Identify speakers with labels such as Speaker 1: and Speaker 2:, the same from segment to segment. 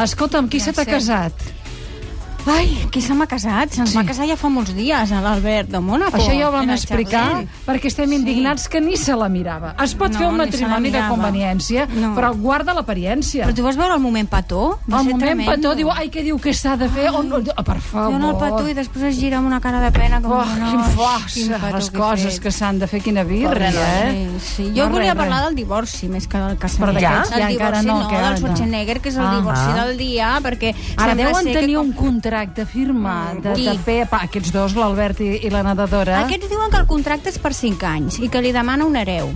Speaker 1: Escolta'm, qui
Speaker 2: Ja
Speaker 1: se t'ha
Speaker 2: sé.
Speaker 1: casat?
Speaker 2: Ai, qui se m'ha casat? Se'ns
Speaker 1: Sí.
Speaker 2: va casar ja fa molts dies, a l'Albert de Mònaco.
Speaker 1: Això ja ho vam
Speaker 2: Era
Speaker 1: explicar
Speaker 2: Charles.
Speaker 1: perquè estem indignats que ni se la mirava. Es pot
Speaker 2: No,
Speaker 1: fer un
Speaker 2: ni se la
Speaker 1: matrimoni de
Speaker 2: mirava.
Speaker 1: conveniència,
Speaker 2: No.
Speaker 1: però guarda l'apariència.
Speaker 2: Però tu vas veure el moment petó? Va
Speaker 1: Al
Speaker 2: ser
Speaker 1: moment
Speaker 2: tremendo.
Speaker 1: petó diu, ai, què diu que s'ha de fer? On, on, oh, per favor.
Speaker 2: Dona el petó i després es gira amb una cara de pena. Com,
Speaker 1: Oh,
Speaker 2: no,
Speaker 1: quin
Speaker 2: quin
Speaker 1: força,
Speaker 2: petó
Speaker 1: les
Speaker 2: he
Speaker 1: coses
Speaker 2: fet.
Speaker 1: que s'han de fer, quina birra,
Speaker 2: Pobre
Speaker 1: eh?
Speaker 2: noi, Sí, sí. Jo
Speaker 1: No,
Speaker 2: volia
Speaker 1: res,
Speaker 2: parlar
Speaker 1: res.
Speaker 2: del divorci, més que del casament.
Speaker 1: Però d'aquests
Speaker 2: El
Speaker 1: ja encara
Speaker 2: divorci
Speaker 1: no,
Speaker 2: no,
Speaker 1: que ara
Speaker 2: del
Speaker 1: no.
Speaker 2: Schwarzenegger, que és el
Speaker 1: Ah.
Speaker 2: divorci del dia, perquè...
Speaker 1: Ara
Speaker 2: sembla
Speaker 1: deuen
Speaker 2: ser que
Speaker 1: tenir
Speaker 2: com-
Speaker 1: un contracte firmat de,
Speaker 2: Qui?
Speaker 1: de Pepa, aquests dos, l'Albert i, i la nedadora.
Speaker 2: Aquests diuen que el contracte és per 5 anys i que li demana un hereu.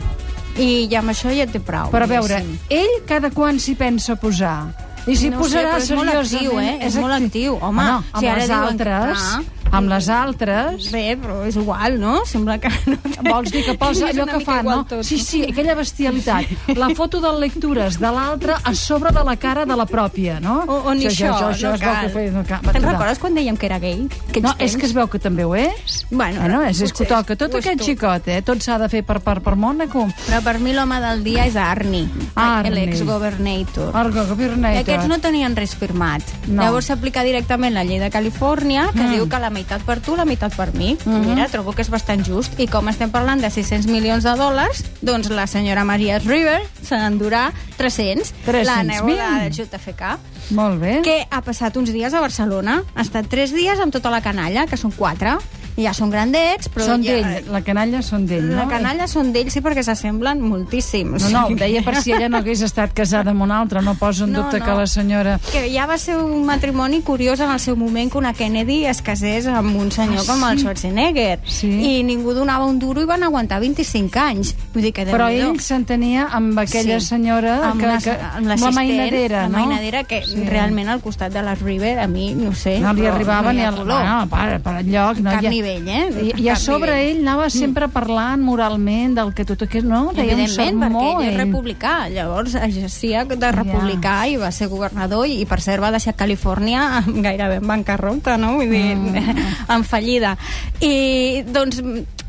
Speaker 2: I ja amb això ja té prou.
Speaker 1: Però a veure,
Speaker 2: diguéssim.
Speaker 1: ell cada quan s'hi pensa posar? I s'hi
Speaker 2: No ho sé,
Speaker 1: posarà
Speaker 2: però és molt
Speaker 1: seriosament?
Speaker 2: actiu, eh? És molt
Speaker 1: acti-
Speaker 2: actiu, home.
Speaker 1: Ah, no,
Speaker 2: Si
Speaker 1: amb
Speaker 2: ara
Speaker 1: les
Speaker 2: diuen que-
Speaker 1: altres,
Speaker 2: clar.
Speaker 1: amb les altres...
Speaker 2: Bé, però és igual, no? Sembla que... No té-
Speaker 1: Vols dir que posa
Speaker 2: És
Speaker 1: allò
Speaker 2: una
Speaker 1: que
Speaker 2: mica
Speaker 1: fa,
Speaker 2: igual
Speaker 1: no?
Speaker 2: tot,
Speaker 1: sí, sí, aquella bestialitat. La foto de lectures de l'altra a sobre de la cara de la pròpia, no?
Speaker 2: O, o ni això,
Speaker 1: això,
Speaker 2: no
Speaker 1: això, és
Speaker 2: cal.
Speaker 1: Que feia, no cal. Va,
Speaker 2: Te'n
Speaker 1: tu va.
Speaker 2: recordes quan dèiem que era gay? Que
Speaker 1: No, és que es veu que també ho és.
Speaker 2: Bueno,
Speaker 1: no, és, és que
Speaker 2: potser
Speaker 1: toca tot
Speaker 2: ho és
Speaker 1: aquest
Speaker 2: tot.
Speaker 1: xicot, eh? Tot s'ha de fer per, per, per Mònaco.
Speaker 2: Però per mi l'home del dia és Arni,
Speaker 1: Arni.
Speaker 2: l'ex-governator.
Speaker 1: Argo,
Speaker 2: I
Speaker 1: governator.
Speaker 2: aquests no tenien res firmat.
Speaker 1: No. Mm.
Speaker 2: Llavors s'aplica directament la llei de Califòrnia, que diu que la meitat per tu, la meitat per mi.
Speaker 1: Mm-hmm.
Speaker 2: Mira, trobo que és bastant just. I com estem parlant de 600 milions de dòlars, doncs la senyora Maria River se n'endurà 300.
Speaker 1: 300.000.
Speaker 2: la neu de JFK.
Speaker 1: Molt bé.
Speaker 2: Que ha passat uns dies a Barcelona. Ha estat tres dies amb tota la canalla, que són quatre. I ja són grandets, però...
Speaker 1: Són
Speaker 2: ja...
Speaker 1: d'ell, la canalla són d'ell, no?
Speaker 2: La canalla són d'ells, sí, perquè s'assemblen moltíssim.
Speaker 1: No, no, ho deia per si ella no hagués estat casada amb una altra, no poso en
Speaker 2: No,
Speaker 1: dubte
Speaker 2: no.
Speaker 1: que la senyora...
Speaker 2: Que ja va ser un matrimoni curiós en el seu moment que una Kennedy es casés amb un
Speaker 1: Ah,
Speaker 2: senyor com el
Speaker 1: sí?
Speaker 2: Schwarzenegger.
Speaker 1: Sí.
Speaker 2: I ningú donava un duro i van aguantar 25 anys. Vull dir que
Speaker 1: Però
Speaker 2: Déu-n'hi-do.
Speaker 1: ell s'entenia amb aquella
Speaker 2: Sí.
Speaker 1: senyora
Speaker 2: amb
Speaker 1: que,
Speaker 2: una-
Speaker 1: que,
Speaker 2: amb l'assistent,
Speaker 1: mainadera,
Speaker 2: la
Speaker 1: no?
Speaker 2: mainadera que realment al costat de les River a mi, no ho sé
Speaker 1: Eh? No li
Speaker 2: però
Speaker 1: arribava ni al...
Speaker 2: color.
Speaker 1: No, per, per enlloc. No,
Speaker 2: Cap
Speaker 1: hi ha-
Speaker 2: nivell, eh?
Speaker 1: I, i a
Speaker 2: Cap
Speaker 1: sobre
Speaker 2: nivell. Mm.
Speaker 1: ell anava sempre parlant moralment del que tot... Que, no, deia un
Speaker 2: Evidentment,
Speaker 1: sermó,
Speaker 2: perquè ell és
Speaker 1: ell.
Speaker 2: republicà, llavors exercia de republicà i va ser governador i, i per cert va deixar Califòrnia amb gairebé en bancarrota, no? Vull dir, en fallida. I doncs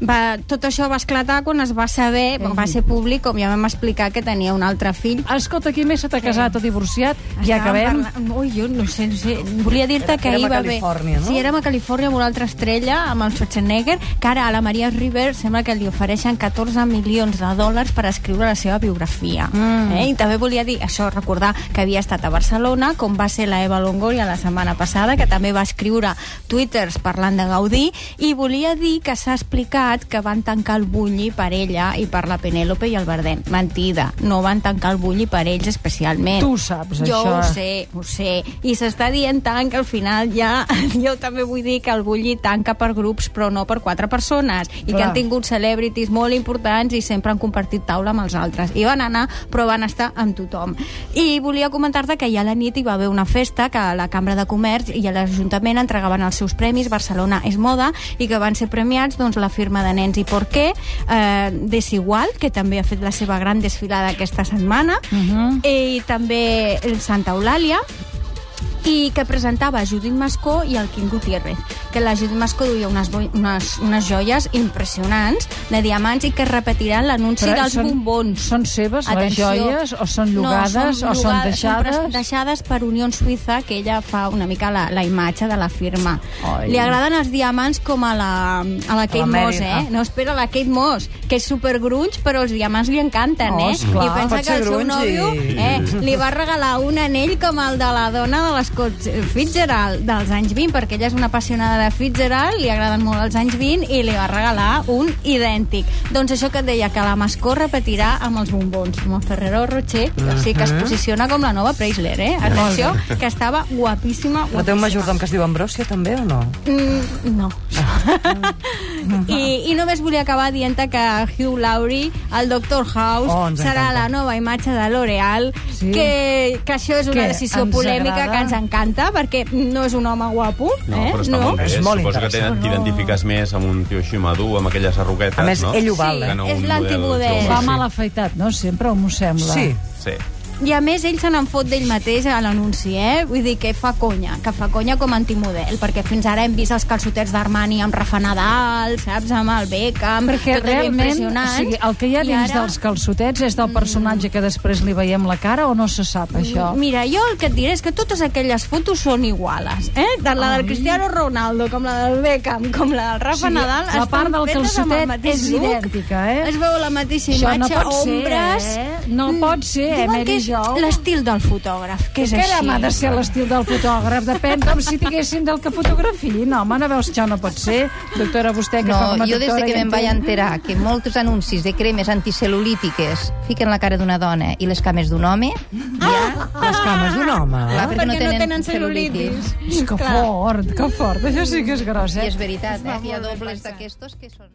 Speaker 2: va, tot això va esclatar quan es va saber, va ser públic, com ja vam explicar, que tenia un altre fill.
Speaker 1: Escolta, qui més se t'ha casat o divorciat? I
Speaker 2: Estàvem
Speaker 1: acabem.
Speaker 2: parlant- Ui, jo no sé, no sé. Volia dir-te que
Speaker 3: érem
Speaker 2: ahir
Speaker 3: a
Speaker 2: va haver...
Speaker 3: Califòrnia, no?
Speaker 2: Sí, érem a Califòrnia amb una altra estrella, amb el Schwarzenegger, que ara a la Maria River sembla que li ofereixen 14 milions de dòlars per escriure la seva biografia.
Speaker 1: Mm.
Speaker 2: Eh? I també volia dir, això, recordar que havia estat a Barcelona, com va ser la Eva Longoria la setmana passada, que també va escriure twitters parlant de Gaudí, i volia dir que s'ha explicat que van tancar el bulli per ella i per la Penélope i el Verdem. Mentida, no van tancar el bulli per ells especialment.
Speaker 1: Tu ho saps,
Speaker 2: jo
Speaker 1: això.
Speaker 2: ho sé, ho sé. I s'està dient tant que al final ja... Jo també vull dir que el Bulli tanca per grups, però no per quatre persones. I
Speaker 1: Clar.
Speaker 2: que han tingut celebrities molt importants i sempre han compartit taula amb els altres. I van anar, però van estar amb tothom. I volia comentar-te que ja a la nit hi va haver una festa que a la Cambra de Comerç i a l'Ajuntament entregaven els seus premis Barcelona és moda i que van ser premiats doncs, la firma de nens i por què, eh, Desigual, que també ha fet la seva gran desfilada aquesta setmana,
Speaker 1: Mhm.
Speaker 2: Eh, i també el Santa Eulàlia i que presentava Judit Mascó i el Quim Gutiérrez, que la Judit Mascó duia unes, boi- unes, unes joies impressionants de diamants i que repetiran l'anunci
Speaker 1: Però
Speaker 2: dels
Speaker 1: són-
Speaker 2: bombons.
Speaker 1: són seves, les joies, o són
Speaker 2: no,
Speaker 1: llogades,
Speaker 2: són
Speaker 1: o són
Speaker 2: llogades, Són
Speaker 1: deixades?
Speaker 2: pres- deixades per Unió Suïssa, que ella fa una mica la, la imatge de la firma.
Speaker 1: Ai.
Speaker 2: Li agraden els diamants com a la, a la Kate
Speaker 3: Mary,
Speaker 2: Moss, eh?
Speaker 3: ah.
Speaker 2: No, espera, la Kate Moss, que és supergrunge, però els diamants li encanten,
Speaker 1: Oh,
Speaker 2: eh?
Speaker 1: esclar.
Speaker 2: I pensa
Speaker 3: Pot
Speaker 2: que
Speaker 3: ser
Speaker 2: el seu
Speaker 3: grunge i-
Speaker 2: nòvio eh, li va regalar un anell com el de la dona de l'Scott Fitzgerald dels anys 20, perquè ella és una apassionada de Fitzgerald, li agraden molt els anys 20 i li va regalar un idèntic. Doncs això que et deia, que la Mascó repetirà amb els bombons, amb el Ferrero Rocher, que sí que es posiciona com la nova Preisler, eh? Atenció, que estava guapíssima,
Speaker 3: No té un
Speaker 2: guapíssima.
Speaker 3: majordom que es diu Ambròsia, també, o no?
Speaker 2: Mm, no. I, I només volia acabar dient que Hugh Laurie, el Doctor House,
Speaker 3: Oh, ens
Speaker 2: serà
Speaker 3: encanta.
Speaker 2: la nova imatge de L'Oreal,
Speaker 1: Sí.
Speaker 2: que, que això és una
Speaker 1: Que
Speaker 2: decisió
Speaker 1: ens
Speaker 2: polèmica
Speaker 1: agrada.
Speaker 2: que ens encanta, perquè no és un home guapo.
Speaker 4: No,
Speaker 2: eh?
Speaker 4: però està
Speaker 2: no?
Speaker 4: molt bé.
Speaker 3: És molt
Speaker 4: Suposo que
Speaker 3: interessant.
Speaker 4: t'ident- t'identifiques més amb un tio així madur, amb aquelles arruguetes,
Speaker 3: A més,
Speaker 4: no?
Speaker 3: ell ho val,
Speaker 2: Sí,
Speaker 3: eh?
Speaker 4: Que no
Speaker 2: és
Speaker 4: un
Speaker 2: l'antimodel.
Speaker 4: model jove,
Speaker 1: Va
Speaker 4: sí.
Speaker 1: mal afaitat, no? Sempre, o m'ho sembla.
Speaker 3: Sí.
Speaker 4: Sí.
Speaker 2: I a més, ell se n'en fot d'ell mateix a l'anunci, eh? Vull dir que fa conya, que fa conya com a antimodel, perquè fins ara hem vist els calçotets d'Armani amb Rafa Nadal, saps? Amb el Beckham,
Speaker 1: Perquè
Speaker 2: tot allò
Speaker 1: realment, o
Speaker 2: impressionant.
Speaker 1: sigui, el que hi ha
Speaker 2: I
Speaker 1: dins
Speaker 2: ara-
Speaker 1: dels calçotets és del personatge que després li veiem la cara o no se sap, això?
Speaker 2: Mira, jo el que et diré és que totes aquelles fotos són iguales, eh? Tant la del Cristiano Ronaldo, com la del Beckham, com la del Rafa
Speaker 1: Sí,
Speaker 2: Nadal,
Speaker 1: la part
Speaker 2: estan
Speaker 1: del
Speaker 2: fetes amb el
Speaker 1: calçotet
Speaker 2: mateix
Speaker 1: és
Speaker 2: look.
Speaker 1: idèntica, eh?
Speaker 2: Es veu la mateixa
Speaker 1: Això no
Speaker 2: imatge,
Speaker 1: pot ser,
Speaker 2: ombres...
Speaker 1: eh? No
Speaker 2: Mm,
Speaker 1: pot ser, eh,
Speaker 2: Diuen
Speaker 1: Mary
Speaker 2: que és
Speaker 1: Jo?
Speaker 2: l'estil del fotògraf, que és
Speaker 1: Caram, ha de
Speaker 2: així.
Speaker 1: ser l'estil del fotògraf. Depèn com si diguéssim del que fotografiïn. No, home, no veus, això no pot ser. Doctora, vostè, que fa com
Speaker 5: No,
Speaker 1: a
Speaker 5: jo des
Speaker 1: doctora...
Speaker 5: de que
Speaker 1: ja en
Speaker 5: me'n
Speaker 1: té.
Speaker 5: vaig enterar que molts anuncis de cremes anticel·lulítiques fiquen la cara d'una dona i les cames d'un home,
Speaker 3: Les cames d'un home.
Speaker 5: clar, perquè,
Speaker 2: Ah, perquè no tenen
Speaker 5: cel·lulitis.
Speaker 1: És que fort, que fort. Això sí que és gros,
Speaker 5: I
Speaker 1: eh?
Speaker 5: és veritat, eh? que hi ha dobles d'aquestos que són...